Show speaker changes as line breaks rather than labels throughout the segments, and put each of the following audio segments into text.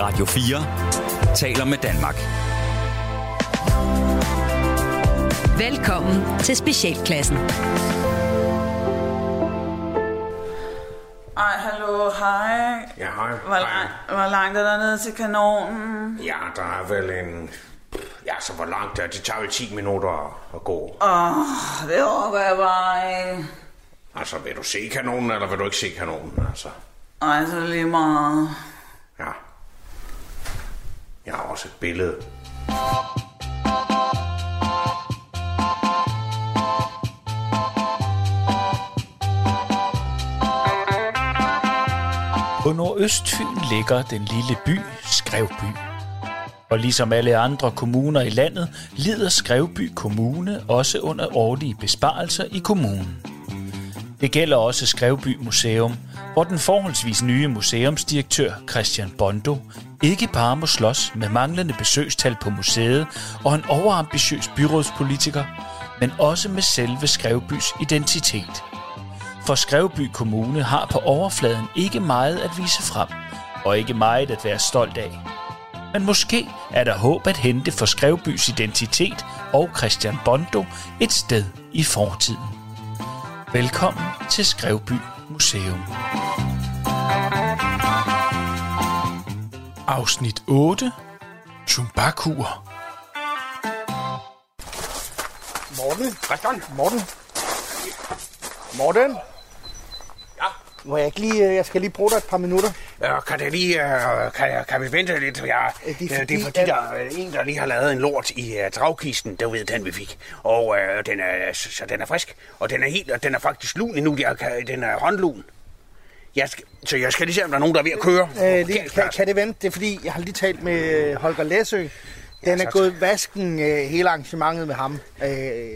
Radio 4 taler med Danmark.
Velkommen til Specialklassen.
Ej, hallo, hej.
Ja, hej.
Hvor,
Hej.
lang, hvor langt er der ned til kanonen?
Ja, der er vel en... Ja, så hvor langt der? Det tager vel 10 minutter at gå.
Åh, oh, det overgår jeg bare ikke.
Altså, vil du se kanonen, eller vil du ikke se kanonen? Altså,
Ej, så er det lige meget.
ja. Jeg har også et billede.
På Nordøstfyn ligger den lille by Skrevby. Og ligesom alle andre kommuner i landet, lider Skrevby Kommune også under årlige besparelser i kommunen. Det gælder også Skrevby Museum, hvor den forholdsvis nye museumsdirektør Christian Bondo ikke bare må slås med manglende besøgstal på museet og en overambitiøs byrådspolitiker, men også med selve Skrevbys identitet – for Skrevby Kommune har på overfladen ikke meget at vise frem, og ikke meget at være stolt af. Men måske er der håb at hente for Skrevbys identitet og Christian Bondo et sted i fortiden. Velkommen til Skrevby Museum. Afsnit 8. Tumbakur.
Morten,
Christian?
Morten. Morten,
Ja?
må jeg ikke lige, øh, jeg skal lige bruge dig et par minutter.
Øh, kan, det lige, øh, kan, kan vi vente lidt? Jeg,
Øh,
det, er fordi, det er fordi,
at-
der er øh, en, der lige har lavet en lort i uh, dragkisten, der ved den, vi fik. Og øh, den er, så, så den er frisk, og den er helt, og den er faktisk lun endnu, jeg, kan, den er håndlun. Jeg skal, så jeg skal lige se, om der er nogen, der er ved at køre.
Øh,
Forkert
lige, kan,
plads.
kan det vente? Det er fordi, jeg har lige talt med øh, Holger Læsø. Den
så
er
tak.
gået i vasken øh, hele arrangementet med ham. Øh,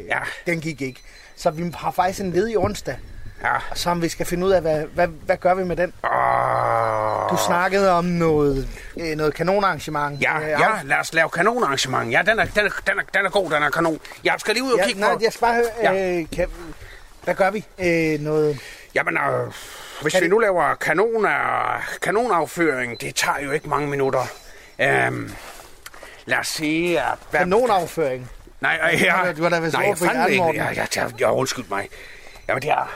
Ja.
Den gik ikke. Så vi har faktisk en ledig onsdag,
Ja.
som vi skal finde ud af, hvad, hvad, hvad gør vi med den?
Åh.
Du snakkede om noget, øh, noget kanonarrangement.
Ja,
øh,
ja, lad os lave kanonarrangement. Ja, den er, den er, den er, den er god, den er kanon. Jeg skal lige ud og
ja
kigge
nej,
på...
jeg skal bare høre,
Ja.
øh, kan, hvad gør vi? Øh, noget...
Jamen, øh, hvis
Kan
vi
det-
nu laver kanoner, kanonafføring, det tager jo ikke mange minutter. Øhm, lad os se... At, hvad,
Kanonafføring.
Nej, øh,
Du
ja,
har- du har da været
nej,
sur
jeg
på hjernen,
fandme ikke.
Morten.
Jeg, jeg, jeg, jeg, undskyld mig. Jamen, det er...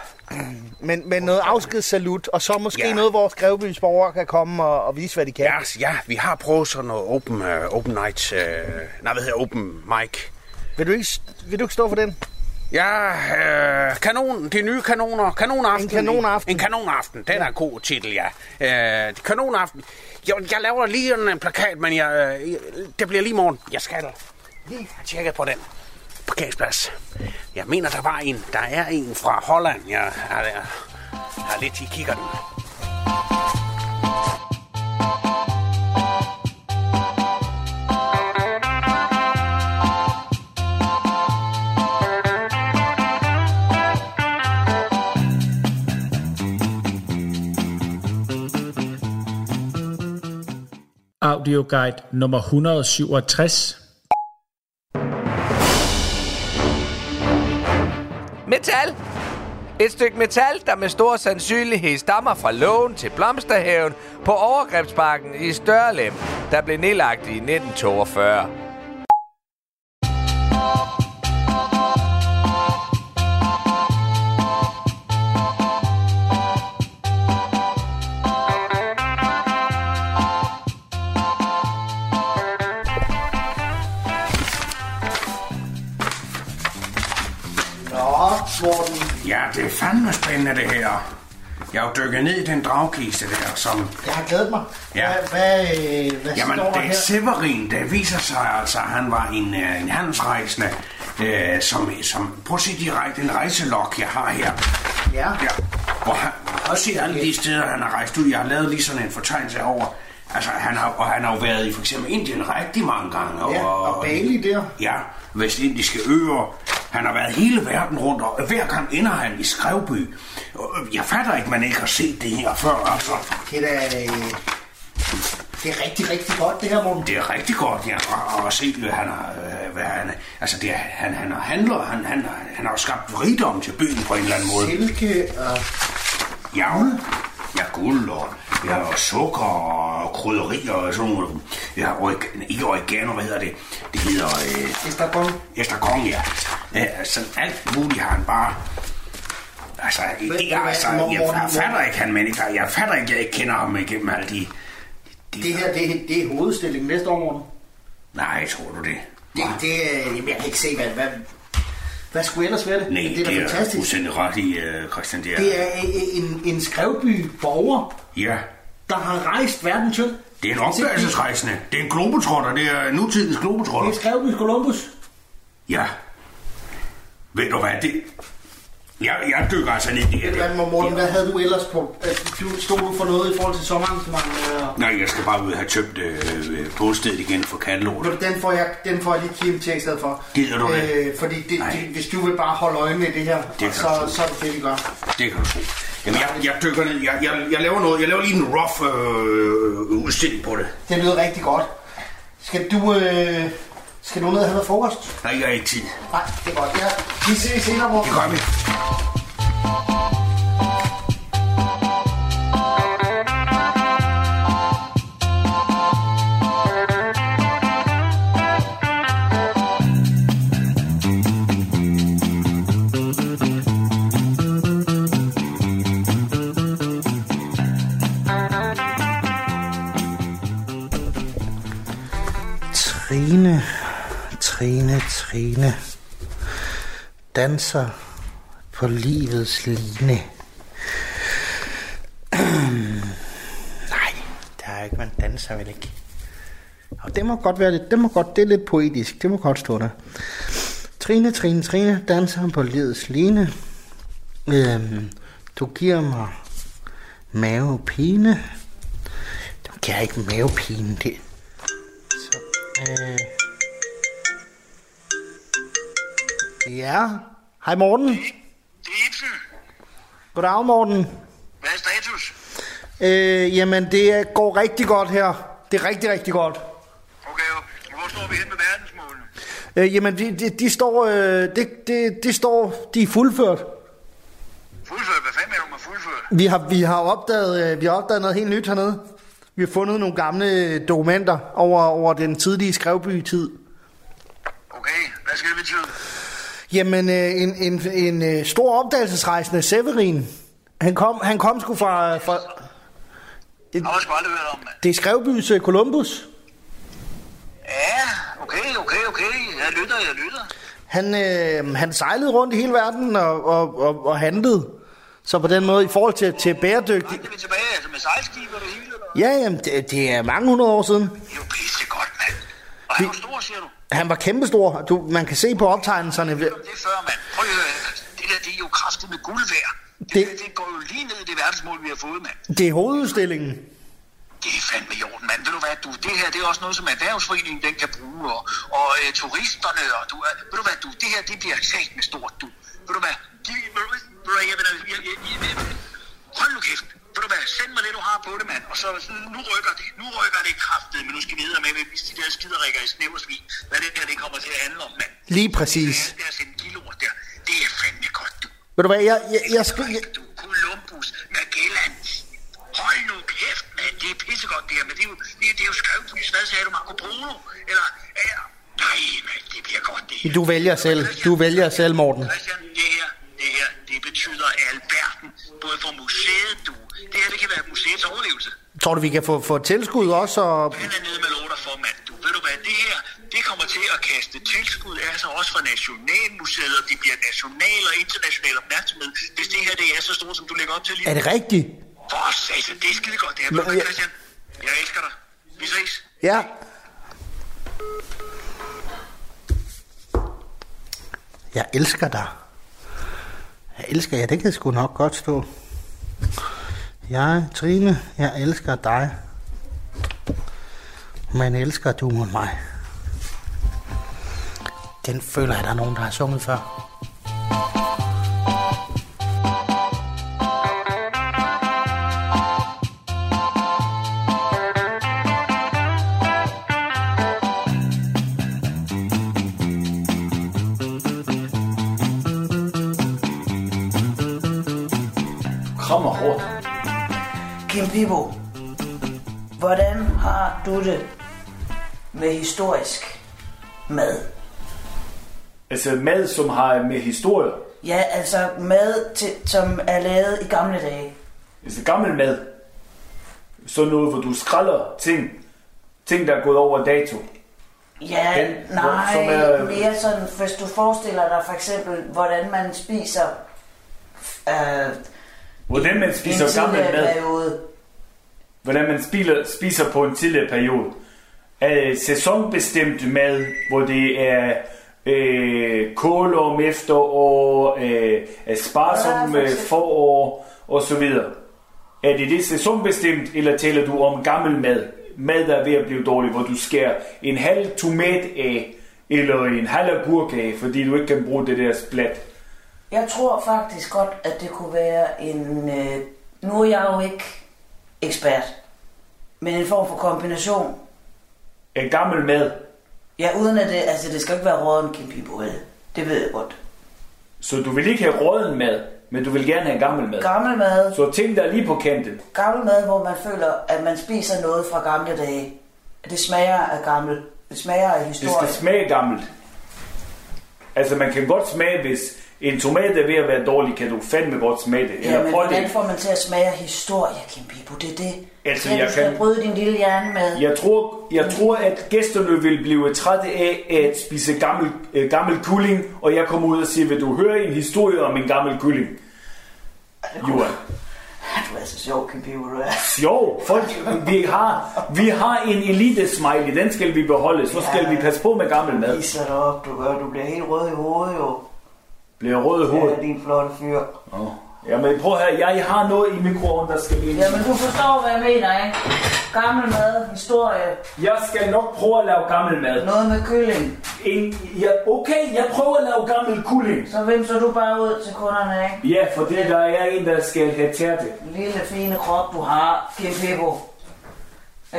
Men, men noget afskedssalut, og så måske
Ja.
ja. noget, hvor Skrevebys borgere kan komme og, og vise, hvad de kan.
Ja, ja, vi har prøvet sådan noget open, øh, open night... Øh, nej, hvad hedder open mic?
Vil, du ikke, vil du ikke stå for den?
Ja, øh, kanon, de nye kanoner, kanonaften.
En kanonaften.
En kanonaften, den er en god titel, ja. Øh, kanonaften. Jeg, jeg laver lige en, en plakat, men jeg, øh, det bliver lige i morgen. Jeg skal lige have tjekket på den parkeringsplads. Jeg mener, der var en. Der er en fra Holland, jeg har, jeg har lidt i kigger den.
Audioguide nummer 167.
Metal! Et stykke metal, der med stor sandsynlighed stammer fra lågen til Blomsterhaven på overgrebsparken i Størlem, der blev nedlagt i 1942.
Nå, Morten.
Ja, det er fandme spændende, det her. Jeg har jo dykket ned i den dragkiste der, som
Jeg har glædet mig.
Ja.
Hvad, hvad, øh, hvad
Jamen,
står der
det er
her?
Severin, der viser sig altså, at han var en, øh, en handelsrejsende, øh, som, som, prøv at se direkte en rejselok, jeg har her.
Ja.
ja. Hvor han, og se alle de steder, han har rejst ud. Jeg har lavet lige sådan en fortegnelse over. Altså, han har, og han har jo været i for eksempel Indien rigtig mange gange. Og,
Ja, og Bali der.
Ja, vestindiske øer. Han har været hele verden rundt, og hver gang ender han i Skrevby. Og øh, Jeg fatter ikke, man ikke har set det her før, altså.
Det er, da, øh, det er rigtig, rigtig godt, det her, Morten.
Det er rigtig godt, ja. Og, og se, hvad han har... øh, Hvad han, altså, det er, han, han har handler, han, han, har- han har jo skabt rigdom til byen på en eller anden måde.
Silke og...
Ja, ja guld og Ja, og sukker og krydderier og sådan noget. Ja, orig- ikke oregano, hvad hedder det? Det hedder... Øh, Estragon. Estragon, ja. ja. Sådan alt muligt har han bare... Altså,
hvad-
ikke, altså,
hvor-
jeg,
hvor-
jeg
hvor-
fatter ikke, han mennesker. Jeg fatter ikke, jeg ikke kender ham igennem alle de... de
Det her, det, er- det er hovedstillingen næste år, Morten.
Nej, tror du det?
Det, det, er- jamen, jeg kan ikke se, hvad, hvad, hvad skulle jeg ellers være det?
Nej,
Men det er da fantastisk.
fuldstændig ret i, øh, Christian. Det er,
Det er øh, en, en, en skrevby borger,
Ja,
der har rejst verden til.
det er en opdagelsesrejsende. Det er en globetrotter. Det er nutidens
Det
globetrotter.
er skrevby Columbus.
Ja. Ved du hvad, det... Jeg, jeg dykker altså ned i det her.
Hvad, Morten, hvad havde du ellers på? Altså, du- Stod du for noget i forhold til sommerarrangementet? og-
Nej, jeg skal bare ud og have tømt øh, påstedet igen for kattelort.
Ved du, Den får jeg, den får jeg lige Kim til i stedet for.
Gider du det?
Øh, fordi det,
Nej.
det, hvis du vil bare holde øje med det her,
kan
det så,
jeg tro.
så er det det, vi gør.
Det kan du tro. Jamen, jeg, jeg dykker ned. Jeg, jeg, jeg laver noget. Jeg laver lige en rough øh, udstilling på det.
Det lyder rigtig godt. Skal du, øh, skal du ned og have noget frokost?
Nej, jeg har ikke tid.
Nej, det er godt. Ja, vi ses senere, Morten.
Det gør vi.
Trine, Trine, Trine danser på livets line. Nej, der er ikke, man danser vel ikke. Og det må godt være lidt, det må godt, det er lidt poetisk, det må godt stå der. Trine, Trine, Trine danser på livets line. Øhm, du giver mig mavepine. Du giver ikke mavepine, det, Øh. Ja. Hej Morten.
Det er Ibsen.
Goddag Morten.
Hvad er status?
Øh, jamen det er- går rigtig godt her. Det er rigtig, rigtig godt.
Okay, og hvor står vi hen med verdensmålene?
Øh, jamen de, de, de står, øh, det, det, de står, de er fuldført.
Fuldført, hvad fanden er du med fuldført?
Vi har, vi har opdaget, øh, vi har opdaget noget helt nyt hernede. Vi har fundet nogle gamle øh, dokumenter over, over den tidlige skrevby-tid.
Okay, hvad skal det betyde?
Jamen, øh, en, en, en øh, stor opdagelsesrejsende, Severin, han kom, han kom sgu fra, fra,
Jeg har sgu aldrig hørt om, mand.
Det er Skrevbys øh, Columbus.
Ja, okay, okay, okay. Jeg lytter, jeg lytter.
Han, øh, han sejlede rundt i hele verden og, og, og, og handlede. Så på den måde, i forhold til, til bæredygtig...
Rejser vi tilbage, altså med sejlskib og det hele, eller hvad?
Ja, jamen, det, det er mange hundrede år siden.
Det er jo pissegodt, mand. Og han er jo stor, siger du.
Han var kæmpestor. Du, man kan se på optegnelserne.
Om det er før, mand. Prøv lige at høre, her. det der, det er jo kraftigt med guld værd. Det,
Det-
det... Der, det går jo lige ned i det verdensmål, vi har fået, mand.
Det er hovedudstillingen.
Det er fandme i orden, mand. Ved du hvad, du, det her det er også noget, som erhvervsforeningen den kan bruge, og, og øh, turisterne, og du, øh, ved du hvad, du, det her det bliver sagt med stort, du. Ved du hvad, de, ved du, hvad- ved du hvad, jeg, vil- jeg, jeg, jeg, jeg, hold nu kæft. Ved du hvad, send mig det, du har på det, mand. Og så, så nu rykker det, nu rykker det kraftet, men nu skal vi videre med, hvis de der skiderikker i snæversvin, hvad det her det kommer til at handle om, mand.
Lige
Det
præcis.
er deres en kiloer der. Det er fandme godt, du.
Ved du hvad, jeg, jeg, jeg skal... Jeg,
Frederik, Du, Columbus, Magellan. Hold nu kæft, mand. Det er pissegodt, det her. Men det er jo, det er, det er jo skrevbys. Hvad sagde du, Marco Polo? Eller, eller... Nej, mand, det bliver godt, det her.
du vælger selv. Du vælger selv, Morten.
Christian, det her, det her, det betyder alverden. Både for museet, du. Det her, det kan være museets overlevelse.
Tror du, vi kan få, få tilskud også? Og...
Han er nede med låter for, mand. Du ved du hvad, det her, det kommer til at kaste tilskud af sig også fra Nationalmuseet, og det bliver national og international opmærksomhed, hvis det her det er så stort, som du lægger op til lige nu.
Er det rigtigt?
For oh, satan, det er skide godt, det her.
Men
Ved du hvad,
jeg-
Christian? Jeg elsker dig. Vi ses.
Ja. Jeg elsker dig. Jeg elsker jer, det kan sgu nok godt stå. Jeg, Trine, jeg elsker dig. Men elsker du mod mig? Den føler jeg, der er nogen, der har sunget før.
Kom og rundt.
Kim Pibo, Hvordan har du det med historisk mad?
Altså mad, som har med historier.
Ja, altså mad, til, som er lavet i gamle dage.
Altså gammel mad. Sådan noget, hvor du skræller ting. Ting, der er gået over dato.
Ja,
Den, hvor-
nej,
som er-
mere sådan, hvis du forestiller dig for eksempel, hvordan man spiser øh,
Hvordan man
i en
spiser gammel
tidligere
mad.
periode.
Hvordan man spiler, spiser på en tidligere periode. Øh, sæsonbestemt mad, hvor det er øh, kål om efterår, øh, sparsom
Ja, for
ja,
eksempel.
forår og så videre. Er det det sæsonbestemt, eller taler du om gammel mad? Mad, der er ved at blive dårlig, hvor du skærer en halv tomat af, eller en halv agurk af, fordi du ikke kan bruge det der splat.
Jeg tror faktisk godt, at det kunne være en... Øh, nu er jeg jo ikke ekspert, men en form for kombination.
Er gammel mad,
Ja, uden at det... Altså, det skal ikke være råden kimpibolle. Det ved jeg godt.
så du vil ikke have råden mad, men du vil gerne have gammel mad.
Gammel mad.
Så ting, der er lige på kanten.
Gammel mad, hvor man føler, at man spiser noget fra gamle dage. Det smager af gammel. Det smager af
Det skal
historie.
smage gammelt. Altså, man kan godt smage, hvis en tomat er ved at være dårlig, kan du fandme godt smage det.
Ja,
Eller
men
prøv
hvordan
det.
får man til at smage af historie, Kim Bibo? Det er det.
Altså,
det er,
jeg
du skal
kan-
bryde din lille hjerne med.
Jeg tror, jeg tror, at gæsterne vil blive trætte af at spise gammel, øh, gammel kulling, og jeg kommer ud og siger, vil du høre en historie om en gammel kulling? Johan.
Du er så sjov, Kim Bibo, du er.
Jo, folk, vi har, vi har en elite smiley, den skal vi beholde, så skal
Ja.
vi passe på med gammel mad.
Isler dig op, du gør. Du bliver helt rød i hovedet, jo.
Bliver rød hoved.
Ja, din flotte fyr.
Jamen prøv her, jeg, jeg har noget i mikroovnen, der skal ind.
Jamen, du forstår, hvad jeg mener, ikke? Gammel mad, historie,
Jeg skal nok prøve at lave gammel mad.
noget med kylling.
En, ja, okay, jeg prøver at lave gammel kulling.
Så vimser du bare ud til kunderne, ikke?
Ja, for det der er en, der skal have tærte.
Den lille fine krop, du har, Kim Bibo.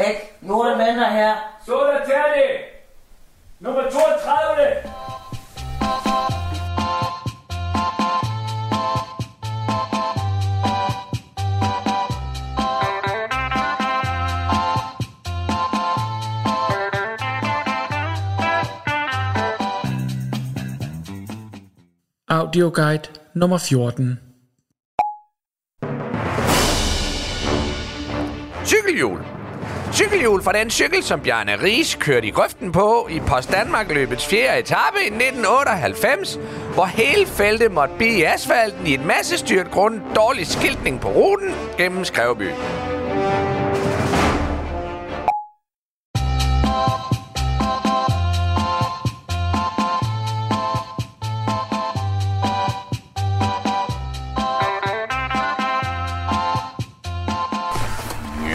Ikke? Jorden venter her.
Så er der tærte! Nummer 32!
Audioguide nummer 14.
Cykelhjul. Cykelhjul fra den cykel, som Bjarne Ries kørte i grøften på i Post Danmark løbets 4. etape i 1998, hvor hele feltet måtte blive i asfalten i et massestyrt grund dårlig skiltning på ruten gennem Skrevby.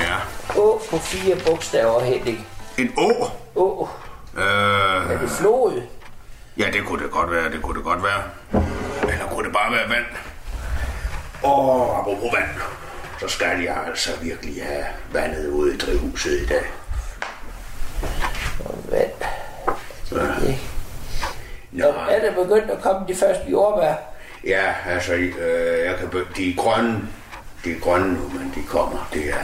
Ja.
Å på fire bogstaver, Henrik.
En å?
Å.
Øh,
Er det flod?
ja, det kunne det godt være, det kunne det godt være. Eller kunne det bare være vand? Og apropos vand, så skal jeg altså virkelig have vandet ude i drivhuset i dag.
Vand.
Nej.
Er der begyndt at komme de første jordbær?
Ja, altså, øh, jeg kan be- de er grønne. De er grønne nu, men de kommer. Det er,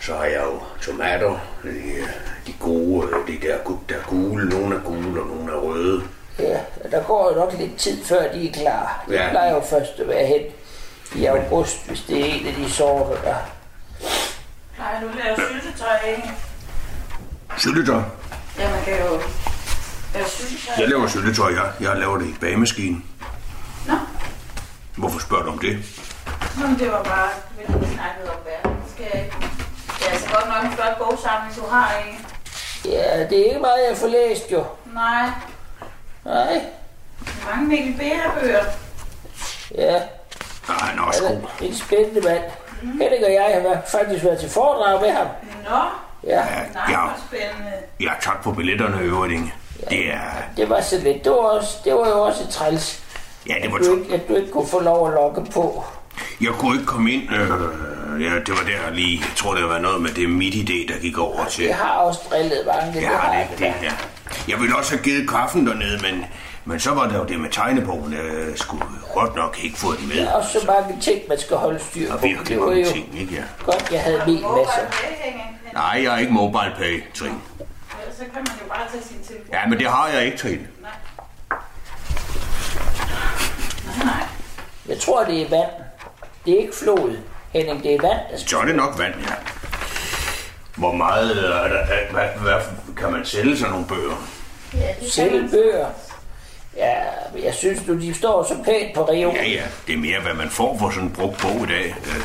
så har jeg jo tomater. De, øh, de gode, øh, de der, gu- der er gule. Nogle er gule, og nogle er røde.
Ja, og der går jo nok lidt tid, før de er klar. De
Ja.
plejer jo først at være hen i august, hvis det er en af de sorter, der...
Nej, nu laver syltetøj, ikke?
Syltetøj.
Ja, man kan jo lave syltetøj.
Jeg laver syltetøj, jeg, jeg laver det i bagemaskinen.
Nå,
Hvorfor spørger du om det?
Jamen, det var bare, fordi vi snakkede om verden. Det Skal jeg ikke? Det er altså godt nok en flot bogsamling, du har, ikke?
Ja, det er ikke meget, jeg får læst jo.
Nej,
Nej.
mange Mikkel Bære-bøger.
Ja,
Nej, han er også
han
god.
er en spændende mand. Henrik og jeg har været- faktisk været til foredrag med ham.
Nå,
Ja,
nej,
Ja.
hvor spændende.
Ja, tak for billetterne i øvrigt, Inge. Det er...
det var så lidt. Det var, også, det var jo også et træls,
Ja, det var
du
to.
ikke, at du ikke kunne få lov at lokke på.
Jeg kunne ikke komme ind. Øh, ja, det var der lige... Jeg tror, det var noget med det midt idé, der gik over til...
Jeg har også drillet mange.
Jeg har det, det ja. Jeg ville også have givet kaffen dernede, men
Men så var der jo det med tegnebogen, øh, skulle godt nok ikke få det med.
Der er også så mange ting, man skal holde styr på.
Og virkelig
Det var
mange
jo
ting, ikke ja.
godt, jeg havde min masse.
Nej, jeg er ikke mobile pay, Trine.
Så kan man jo bare tage sin telefon.
Ja, men det har jeg ikke, Trine.
Jeg tror, det er vand. Det er ikke flod, Henning. Det er vand.
Så er det nok vand, ja. Hvor meget øh, er der, øh, hvad, hvad, kan man sælge sådan nogle bøger?
Selv bøger. Ja, men jeg synes nu, de står så pænt på Rio.
Ja, ja. Det er mere, hvad man får for sådan en brugt bog i dag. Øh,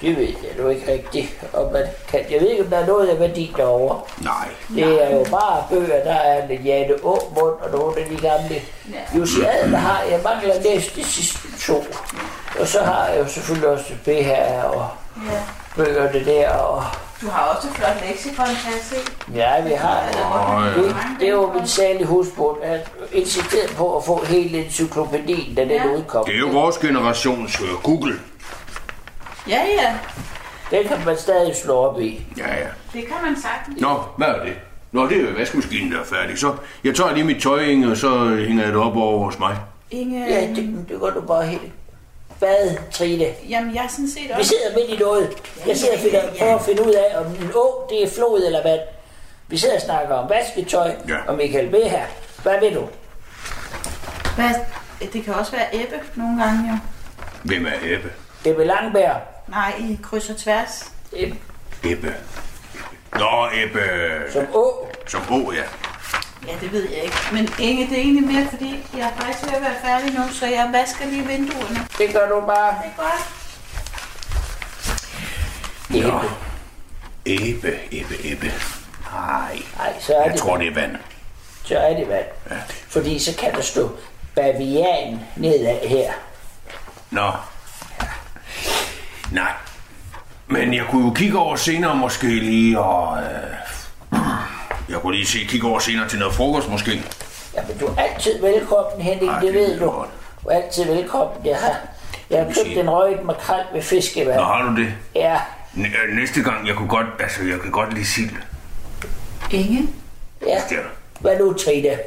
Det ved jeg nu ikke rigtigt. Og man kan, jeg ved ikke, om der er noget af værdi derovre.
nej.
Det er jo bare bøger, der er en Jane Åmund og nogle af de gamle. Jussi Adler har jeg mangler at læse de sidste to. Og så har jeg jo selvfølgelig også B her og
Ja.
bøgerne der. Og,
Du har også et flot leksikon, kan jeg se.
ja, vi har.
Åh, ja.
Det, det var min særlige husbund. Han insisterede på at få hele encyklopædien, da den
Ja.
udkom.
Det er jo vores generations øh, Google.
Ja, ja.
Den kan man stadig slå op i.
Ja, ja.
Det kan man sagtens.
Nå, hvad er det? Nå, det er jo vaskemaskinen, der er færdig. Så jeg tager lige mit tøj, Inge, og så hænger jeg det op over hos mig.
Inge, mm,
Ja, det, det går du bare helt. Hvad, Trine?
jamen jeg er sådan set også...
Vi sidder midt i noget. Jeg sidder og finder, prøver at finde ud af, om en å, det er flod eller vand. Vi sidder og snakker om vasketøj
Ja.
og Michael B. her. Hvad ved du?
Hvad? Det kan også være æbbe nogle gange jo.
Hvem er Ebbe?
Det er Langbær.
Nej, i kryds og tværs.
Æbbe.
Ebbe. Nå, Ebbe.
Som Å.
Som Å, ja.
Ja, det ved jeg ikke. Men Inge, det er egentlig mere fordi, jeg er faktisk ved at være færdig nu, så jeg vasker lige vinduerne.
Det gør du bare.
Det er godt.
Nå. Ebbe, Ebbe, Ebbe. Nej.
Nej, så er
Jeg
det
tror, det er vand.
Så er det vand. Fordi så kan der stå bavian nedad her.
Nå. Nej. Men jeg kunne jo kigge over senere måske lige, og... Øh, jeg kunne lige se, kigge over senere til noget frokost måske.
Jamen, du er altid velkommen, Henning,
Ej,
det
det
ved
ved
du.
jeg godt.
Du er altid velkommen. Jeg har, jeg har købt en røget makrel med fiskevand.
Nå, har du det?
Ja,
N- øh, næste gang, jeg kunne godt... Altså, jeg kan godt lide sild.
Inge,
ja.
Ja.
Hvad nu, Trine?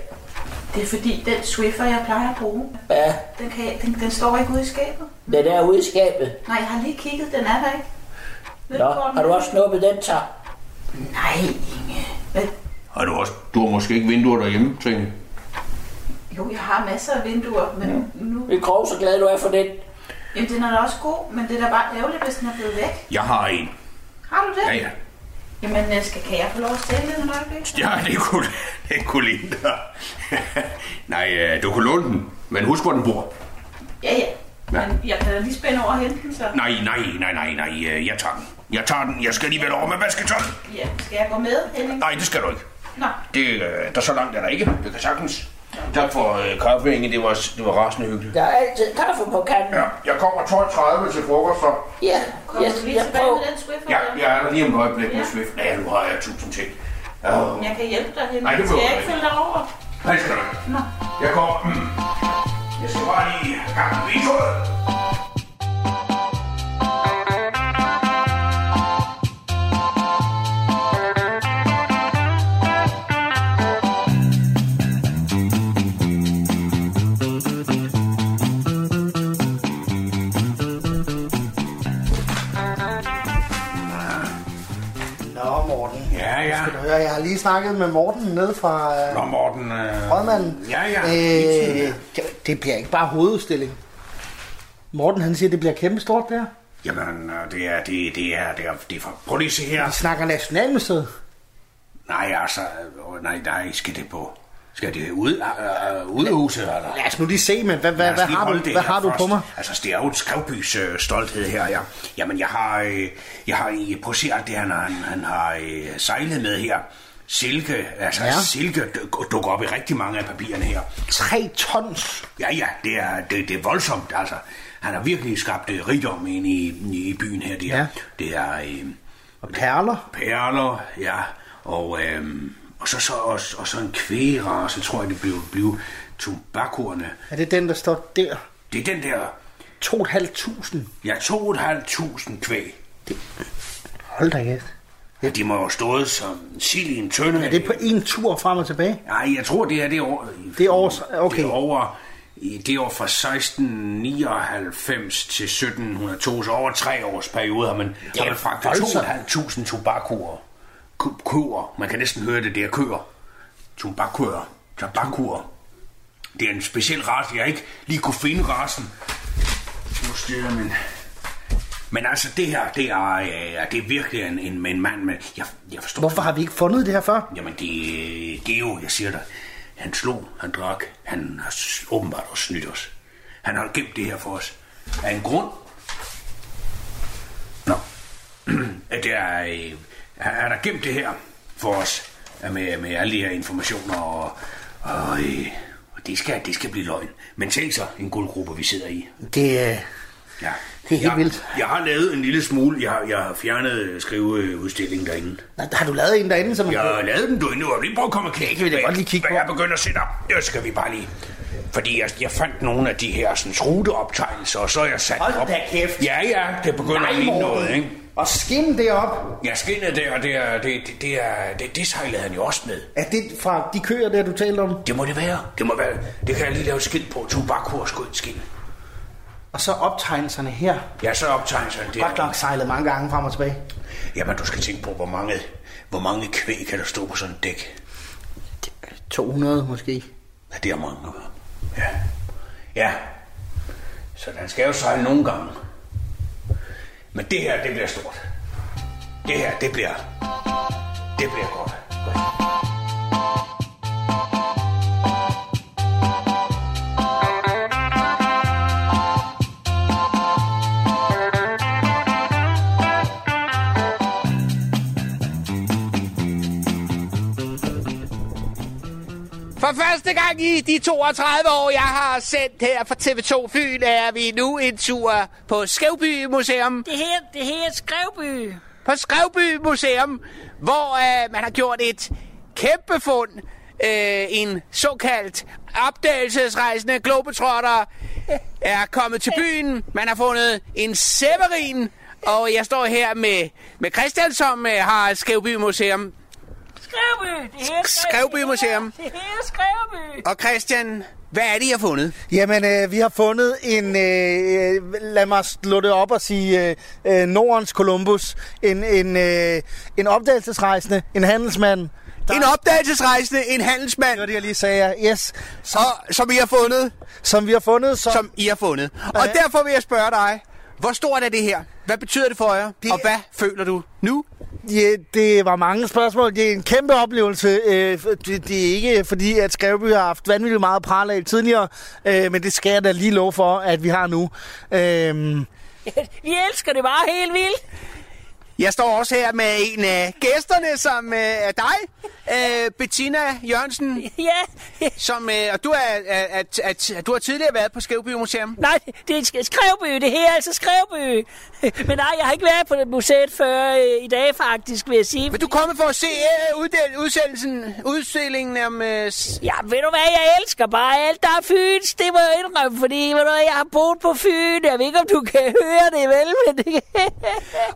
det er fordi, den Swiffer, jeg plejer at bruge,
Ja,
den, kan, den, den står ikke ude i skabet.
den er ude i skabet.
Nej, jeg har lige kigget, den er der ikke. Ved
Nå,
hvor den
har du
er?
også snuppet den så?
Nej, Inge. Hvad?
Har du også... Du har måske ikke vinduer derhjemme, Trine?
Jo, jeg har masser af vinduer, men nu...
Vi grov, så glad du er for den.
Jamen, den er da også god, men det er da bare ærgerligt, hvis den er blevet væk.
Jeg har en.
Har du det?
Ja, ja.
Jamen, øh, skal, kan jeg få lov at stille den et øjeblik?
Ja, det kunne, det kunne lide dig. Nej, øh, du kunne låne den, men husk, hvor den bor.
Ja, ja.
Ja.
Men jeg kan da lige spænde over og hente den, så...
Nej, nej, nej, nej, nej, øh, jeg tager den. Jeg tager den. Jeg skal alligevel over med vasketøj.
Ja, skal jeg gå med, Henning?
Nej, det skal du ikke.
Nå,
Det, øh, der er så langt er der ikke. Det kan sagtens. Tak for øh, kaffe, Inge. Det var, det var rasende hyggeligt.
Der er altid kaffe på kanden.
Ja, jeg kommer 12.30 til frokost, så.
Ja,
kommer
jeg,
du lige
jeg
tilbage
prøver.
med den Swiffer?
Ja,
der?
jeg er der lige om et øjeblik med
Ja.
Swift. Ja, nu har jeg tusind ting. Oh,
Jeg kan hjælpe dig, Henning.
Nej, det
skal
behøver
jeg ikke
du ikke.
følge dig over?
hej skal du. have.
Nå.
Jeg kommer... Mm, jeg skal bare lige have gang i vinduet.
Nå, Morten.
Ja, ja.
Skal du høre, jeg har lige snakket med Morten nede fra øh,
Nå, Morten. Øh,
Rødmanden.
Ja, ja.
Øh, det, det bliver ikke bare hovedudstilling. Morten, han siger, det bliver kæmpestort der.
Jamen, øh, det er, det, det er, det er, det er for... Prøv lige at se her.
Vi snakker Nationalmuseet.
Nej, altså, øh, nej, nej, skal det på... Skal det ud, øh, øh, udhuset, eller?
Lad os nu lige se, men hvad, hvad,
Lad os
hvad,
lige
har, du,
holde det
hvad
her
har du på
først.
mig?
Altså, det er jo et skrevbys øh, stolthed her, ja. Jamen, jeg har, øh, jeg har øh, prøv at se alt det, han, har- han, han har øh, sejlet med her. Silke, altså
Ja.
ja. silke duk- dukker op i rigtig mange af papirerne her.
Tre tons.
Ja, ja, det er, det, det er voldsomt, altså. Han har virkelig skabt øh, rigdom ind i, i byen her. Det er,
Ja.
ja. det er øh,
Og perler.
perler, ja, og, øh, og, så, så, og, og så en kvæger, så tror jeg, det blev, blev tobakorne.
Er det den, der står der?
Det er den der
2.500.
Ja, 2.500 kvæg.
Hold da kæft.
Ja, de må jo have stået som sild i en tønde.
Er det på en tur frem og tilbage?
Nej, jeg tror, det her det er over...
Det er over... Okay.
Det er over, i- det er over fra 1699 til 1702, så over tre års periode har man, har man fragtet
voldsomt.
2.500 tobakkurer. Ku- Køer. Man kan næsten høre det, det er køer. Tobakkurer. Tobakkurer. Det er en speciel race, jeg ikke lige kunne finde racen. Nu stiller man... Men altså, det her, det er, øh, det er virkelig en, en, en mand med... Jeg, jeg forstår
Hvorfor har vi ikke fundet det her før?
Jamen, det, det er jo, jeg siger dig. Han slog, han drak, han har s- åbenbart også snydt os. Han har gemt det her for os. Af en grund. Nå. At det er, øh, han, han har gemt det her for os. øh, Med, med alle de her informationer og... og øh, og det skal, det skal blive løgn. Men tænk så, en guldgruppe, vi sidder i.
Det, øh,
Ja.
Det er helt
jeg,
vildt.
Jeg har lavet en lille smule. Jeg, har- jeg har fjernet øh, skriveudstillingen derinde.
nej, har du lavet en derinde, som...
Jeg har lavet den, du endnu. Lige prøv at komme og kigge. Det vil jeg godt lige kigge på. Jeg begynder at sætte op. Det skal vi bare lige. Fordi jeg, jeg fandt nogle af de her sådan, ruteoptegnelser, og så har jeg sat
Hold
dem op.
da kæft.
Ja, ja, det begynder
Nej,
at ligne
Morten.
noget, ikke?
Og skin det op.
Jeg skinnede der, og det, er- det, det, det, er, det, det sejlede han jo også med.
Er det fra de køer der, du talte om?
Det må det være. Det må være. Det kan jeg lige lave et skilt på. Tubakhor skud skin.
Og så optegnelserne her.
Ja, så optegnelserne
Godt
der.
nok sejlet mange gange frem og tilbage.
Jamen, du skal tænke på, hvor mange, hvor mange kvæg kan der stå på sådan et dæk.
200 måske.
Ja, det er mange. Ja. Ja. Så den skal jo sejle nogle gange. Men det her, det bliver stort. Det her, det bliver... Det bliver godt.
For første gang i de 32 år, jeg har sendt her fra TV2 Fyn, er vi nu en tur på Skævby Museum. Det her, det her er Skævby. På Skævby Museum, hvor øh, man har gjort et kæmpe fund. Øh, en såkaldt opdagelsesrejsende globetrotter er kommet til byen. Man har fundet en severin, og jeg står her med, med Christian, som øh, har Skævby Museum.
Skrevby! Det her
Skrevby Museum.
Det her er Skrevby!
Og Christian, hvad er det, I har fundet?
Jamen, øh, vi har fundet en, øh, øh, lad mig slå det op og sige, øh, øh, Nordens Columbus. En, en, øh, en opdagelsesrejsende, en handelsmand. Der... En
opdagelsesrejsende, en handelsmand?
Det var det, jeg lige sagde, ja. Yes. Som,
og, som I har fundet?
Som vi har fundet. Som,
som I har fundet. Og derfor vil jeg spørge dig, hvor stort er det her? Hvad betyder det for jer? Det... Og hvad føler du nu?
Ja, det var mange spørgsmål. Det er en kæmpe oplevelse. Øh, for- Det, det er ikke fordi, at Skrevby har haft vanvittigt meget pral af tidligere, øh, men det skal jeg da lige love for, at vi har nu. Øh,
Vi elsker det bare helt vildt. Jeg står også her med en af gæsterne, som øh, er dig, øh, Bettina Jørgensen. Ja. som, øh, og du, er, er, er, er, er, du har tidligere været på Skævby Museum.
Nej, det er Sk- Skrevby, det her er altså Skrevby. Men nej, jeg har ikke været på det museet før øh, i dag, faktisk, vil jeg sige. Men
du kommer for at se uh, uddel- udsendelsen, udstillingen om... Øh,
Ja, ved du hvad, jeg elsker bare alt, der er Fyns, det må jeg indrømme, fordi ved du hvad, jeg har boet på Fyn. Jeg ved ikke, om du kan høre det, vel? Men det...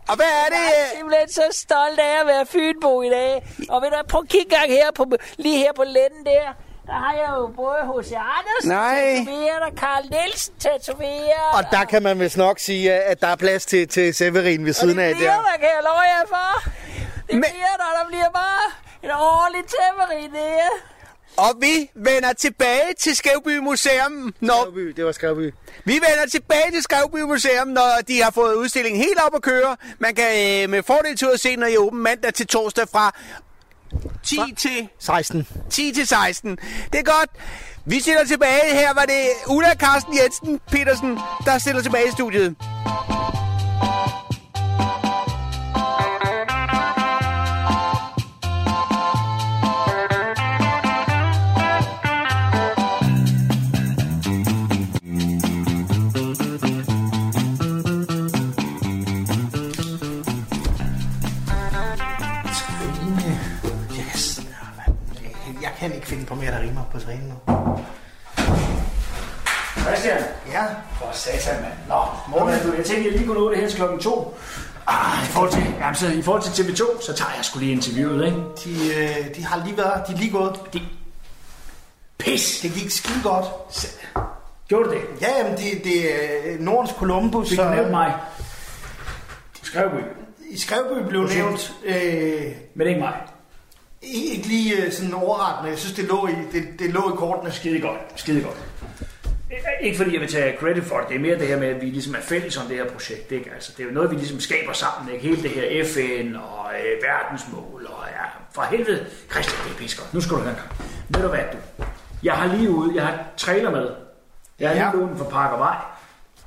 Og hvad er det?
Jeg er simpelthen så stolt af at være Fynbo i dag. Og ved du hvad, prøv at kigge gang her på, lige her på lænden der. Der har jeg jo både H.C. Andersen
Nej.
tatoveret og Carl Nielsen tatoveret.
og der kan man vist nok sige, at der er plads til, til Severin ved siden af
Det bliver
der.
der, kan jeg love jer for. Det Men... bliver der, der bliver bare en ordentlig tæmmeri, det er.
Og vi vender tilbage til Skævby Museum, når...
Skævby, det var Skævby.
Vi vender tilbage til Skævby Museum, når de har fået udstillingen helt op at køre. Man kan øh, med fordel til at se, når I er åben mandag til torsdag fra 10 til...
16.
10 til 16. Det er godt. Vi stiller tilbage. Her var det Ulla Carsten Jensen Petersen, der stiller tilbage i studiet.
Trine. Yes. Jeg kan ikke finde på mere, der rimer på Trine nu.
Christian?
Ja?
For satan, mand. Nå, morgen. Jeg tænkte, jeg lige kunne nå det her til klokken to. Ah, i forhold til, jamen, så, i forhold til TV2, så tager jeg sgu lige interviewet, ikke?
De, øh, de har lige været, de er lige gået. De...
Pis!
Det gik skide godt.
Gjorde det?
Ja, jamen, det, det er øh, Nordens Columbus.
Fik nævnt mig. Skrevby.
I Skrevby blev
Projekt.
nævnt. Øh,
Men ikke mig.
Ikke lige øh, sådan overraskende. Jeg synes, det lå i, det, det lå i kortene.
Skide godt. Skide godt. Eh, Ikke fordi jeg vil tage credit for det, det er mere det her med, at vi ligesom er fælles om det her projekt. Ikke? Altså, det er jo noget, vi ligesom skaber sammen. Ikke? Hele det her FN og øh, verdensmål. Og, ja, for helvede, Christian, det er pissegodt. Nu skal du høre en gang. Ved du hvad, du? Jeg har lige ude, jeg har trailer med. Jeg har lige ja. ude for Parkervej.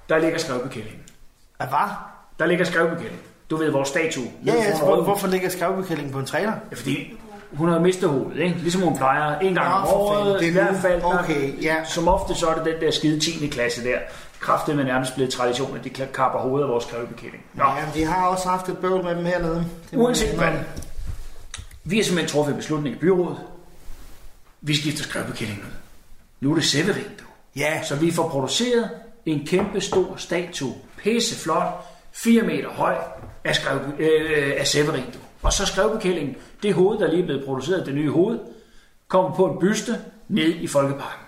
Der ligger skrevbekællingen.
Hvad?
Der ligger skrevbekællingen. Du ved, vores statue.
Ja,
Nede
ja,
foran
altså, hvor,
rådhuset.
hvorfor ligger skrevbekællingen på en trailer?
Ja, fordi hun har mistet hovedet, ikke? ligesom hun plejer. En gang
Nå,
om
for
året,
fanden, det
i
er
hvert
nu.
fald. der-
Okay, ja.
Som ofte så er det den der skide 10. klasse der. Kræftet med nærmest blevet tradition, at de kla- kapper hovedet af vores krævebekending. Nå,
Ja, men de har også haft et bøvl med dem hernede. Det må
uanset
jeg
hvad.
indrømme.
Vi har simpelthen truffet en beslutning i byrådet. Vi skifter skrævebekending ud. Nu er det Severin, du.
Ja.
Så vi får produceret en kæmpe stor statue. Pisseflot, 4 meter høj af, skrev, øh, af Severin, du. Og så skrevbekællingen, det hoved, der lige er blevet produceret, det nye hoved, kommer på en byste ned i Folkeparken.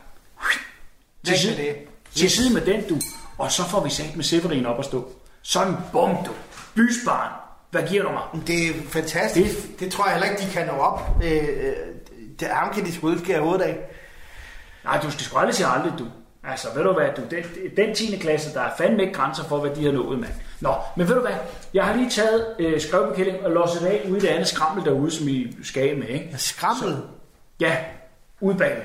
Til
Væk
side,
med det.
til side med den, du. Og så får vi sat med Severin op at stå. Sådan, bum, du. Bysbarn. Hvad giver du mig?
Det er fantastisk. Det, det tror jeg heller ikke, de kan nå op. Øh, øh, det, ham kan de sgu udskære hovedet af.
Nej, du skal sgu aldrig sige aldrig, du. Altså, ved du hvad, du, den, den 10. klasse, der er fandme ikke grænser for, hvad de har nået, mand. Nå, men ved du hvad, jeg har lige taget øh, skrevbekælling og losset af ude i det andet skrammel derude, som I skal af med, ikke?
Skrammel? Så,
ja, ude bag.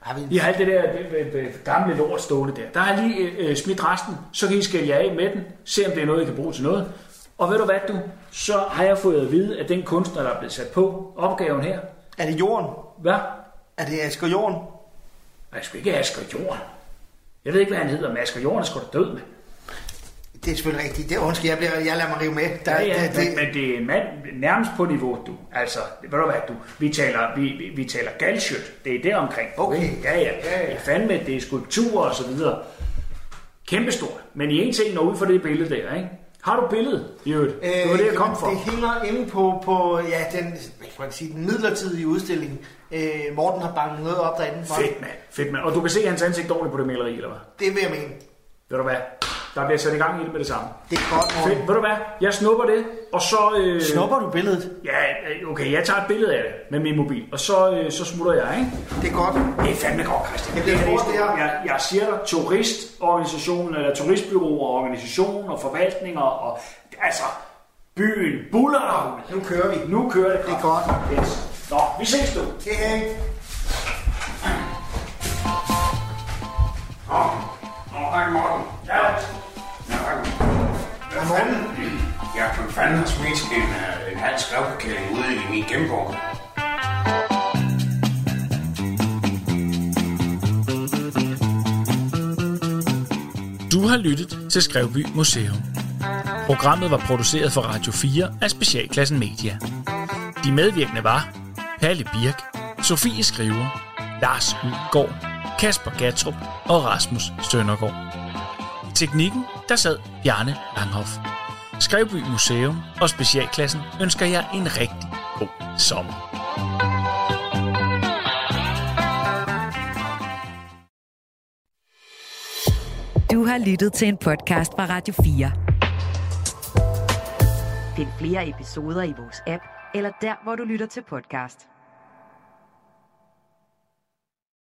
Har vi en...
I har alt det der øh, øh, øh, gamle lort stående der. Der har jeg lige øh, øh, smidt resten, så kan I skælde jer af med den, se om det er noget, I kan bruge til noget. Og ved du hvad, du, så har jeg fået at vide, at den kunstner, der er blevet sat på opgaven her...
Er det jorden?
Hvad?
Er det Asger Jorden?
Nej, sgu ikke Asger Jorden. Jeg ved ikke, hvad han hedder, men Asger Jorden er sgu da død, mand.
Det er selvfølgelig rigtigt. Det, undskyld, jeg, bliver, jeg lader mig rive med. Der,
Ja, ja,
det,
men, men det er en mand nærmest på niveau, du. Altså, ved du hvad, du, vi taler, vi, vi, vi taler galshøt. Det er der omkring. Okay. Ja, ja. ja, ja. Fandme, det er skulpturer og så videre. Kæmpestort. Men i en ting når ud for det billede der, ikke? Har du billedet, i øvrigt? Øh, det var det, jeg kom
jamen,
fra.
Det hænger inde på, på ja, den, hvad kan man sige, den midlertidige udstilling. Øh, Morten har banket noget op derinde. for.
Fedt, mand. Fedt, mand. Og du kan se hans ansigt dårligt på det maleri, eller hvad?
Det vil jeg mene.
Ved du hvad? Der bliver sat i gang i det med det samme.
Det er godt, Morten.
Fedt. Ved du hvad? Jeg snupper det, og så... Øh...
Snupper du billedet?
Ja, øh, okay, jeg tager et billede af det med min mobil, og så, øh, så smutter jeg, ikke?
Det er godt.
Det er fandme godt, Christian.
Jeg bliver
Det her,
hårdt,
det
det
er,
her.
jeg, jeg siger dig, turistorganisationen, eller turistbyråer, organisationer, forvaltninger, og altså, byen buller
Nu kører vi.
Nu kører det. Det
er godt.
Yes. Nå, vi ses du.
Det er ikke.
Nå, hej Morten.
Ja.
Nå, hej. Hvad fanden? Jeg for fanden har smidt en, øh, en halv skrevbekælling ude i min gennemgård.
Du har lyttet til Skrevby Museum. Programmet var produceret for Radio 4 af Specialklassen Media. De medvirkende var Palle Birk, Sofie Skriver, Lars Udgaard, Kasper Gatrup og Rasmus Søndergaard. I teknikken der sad Bjarne Langhoff. Skrevby Museum og Specialklassen ønsker jer en rigtig god sommer.
Du har lyttet til en podcast fra Radio 4.
Find flere episoder i vores app, eller der, hvor du lytter til podcast.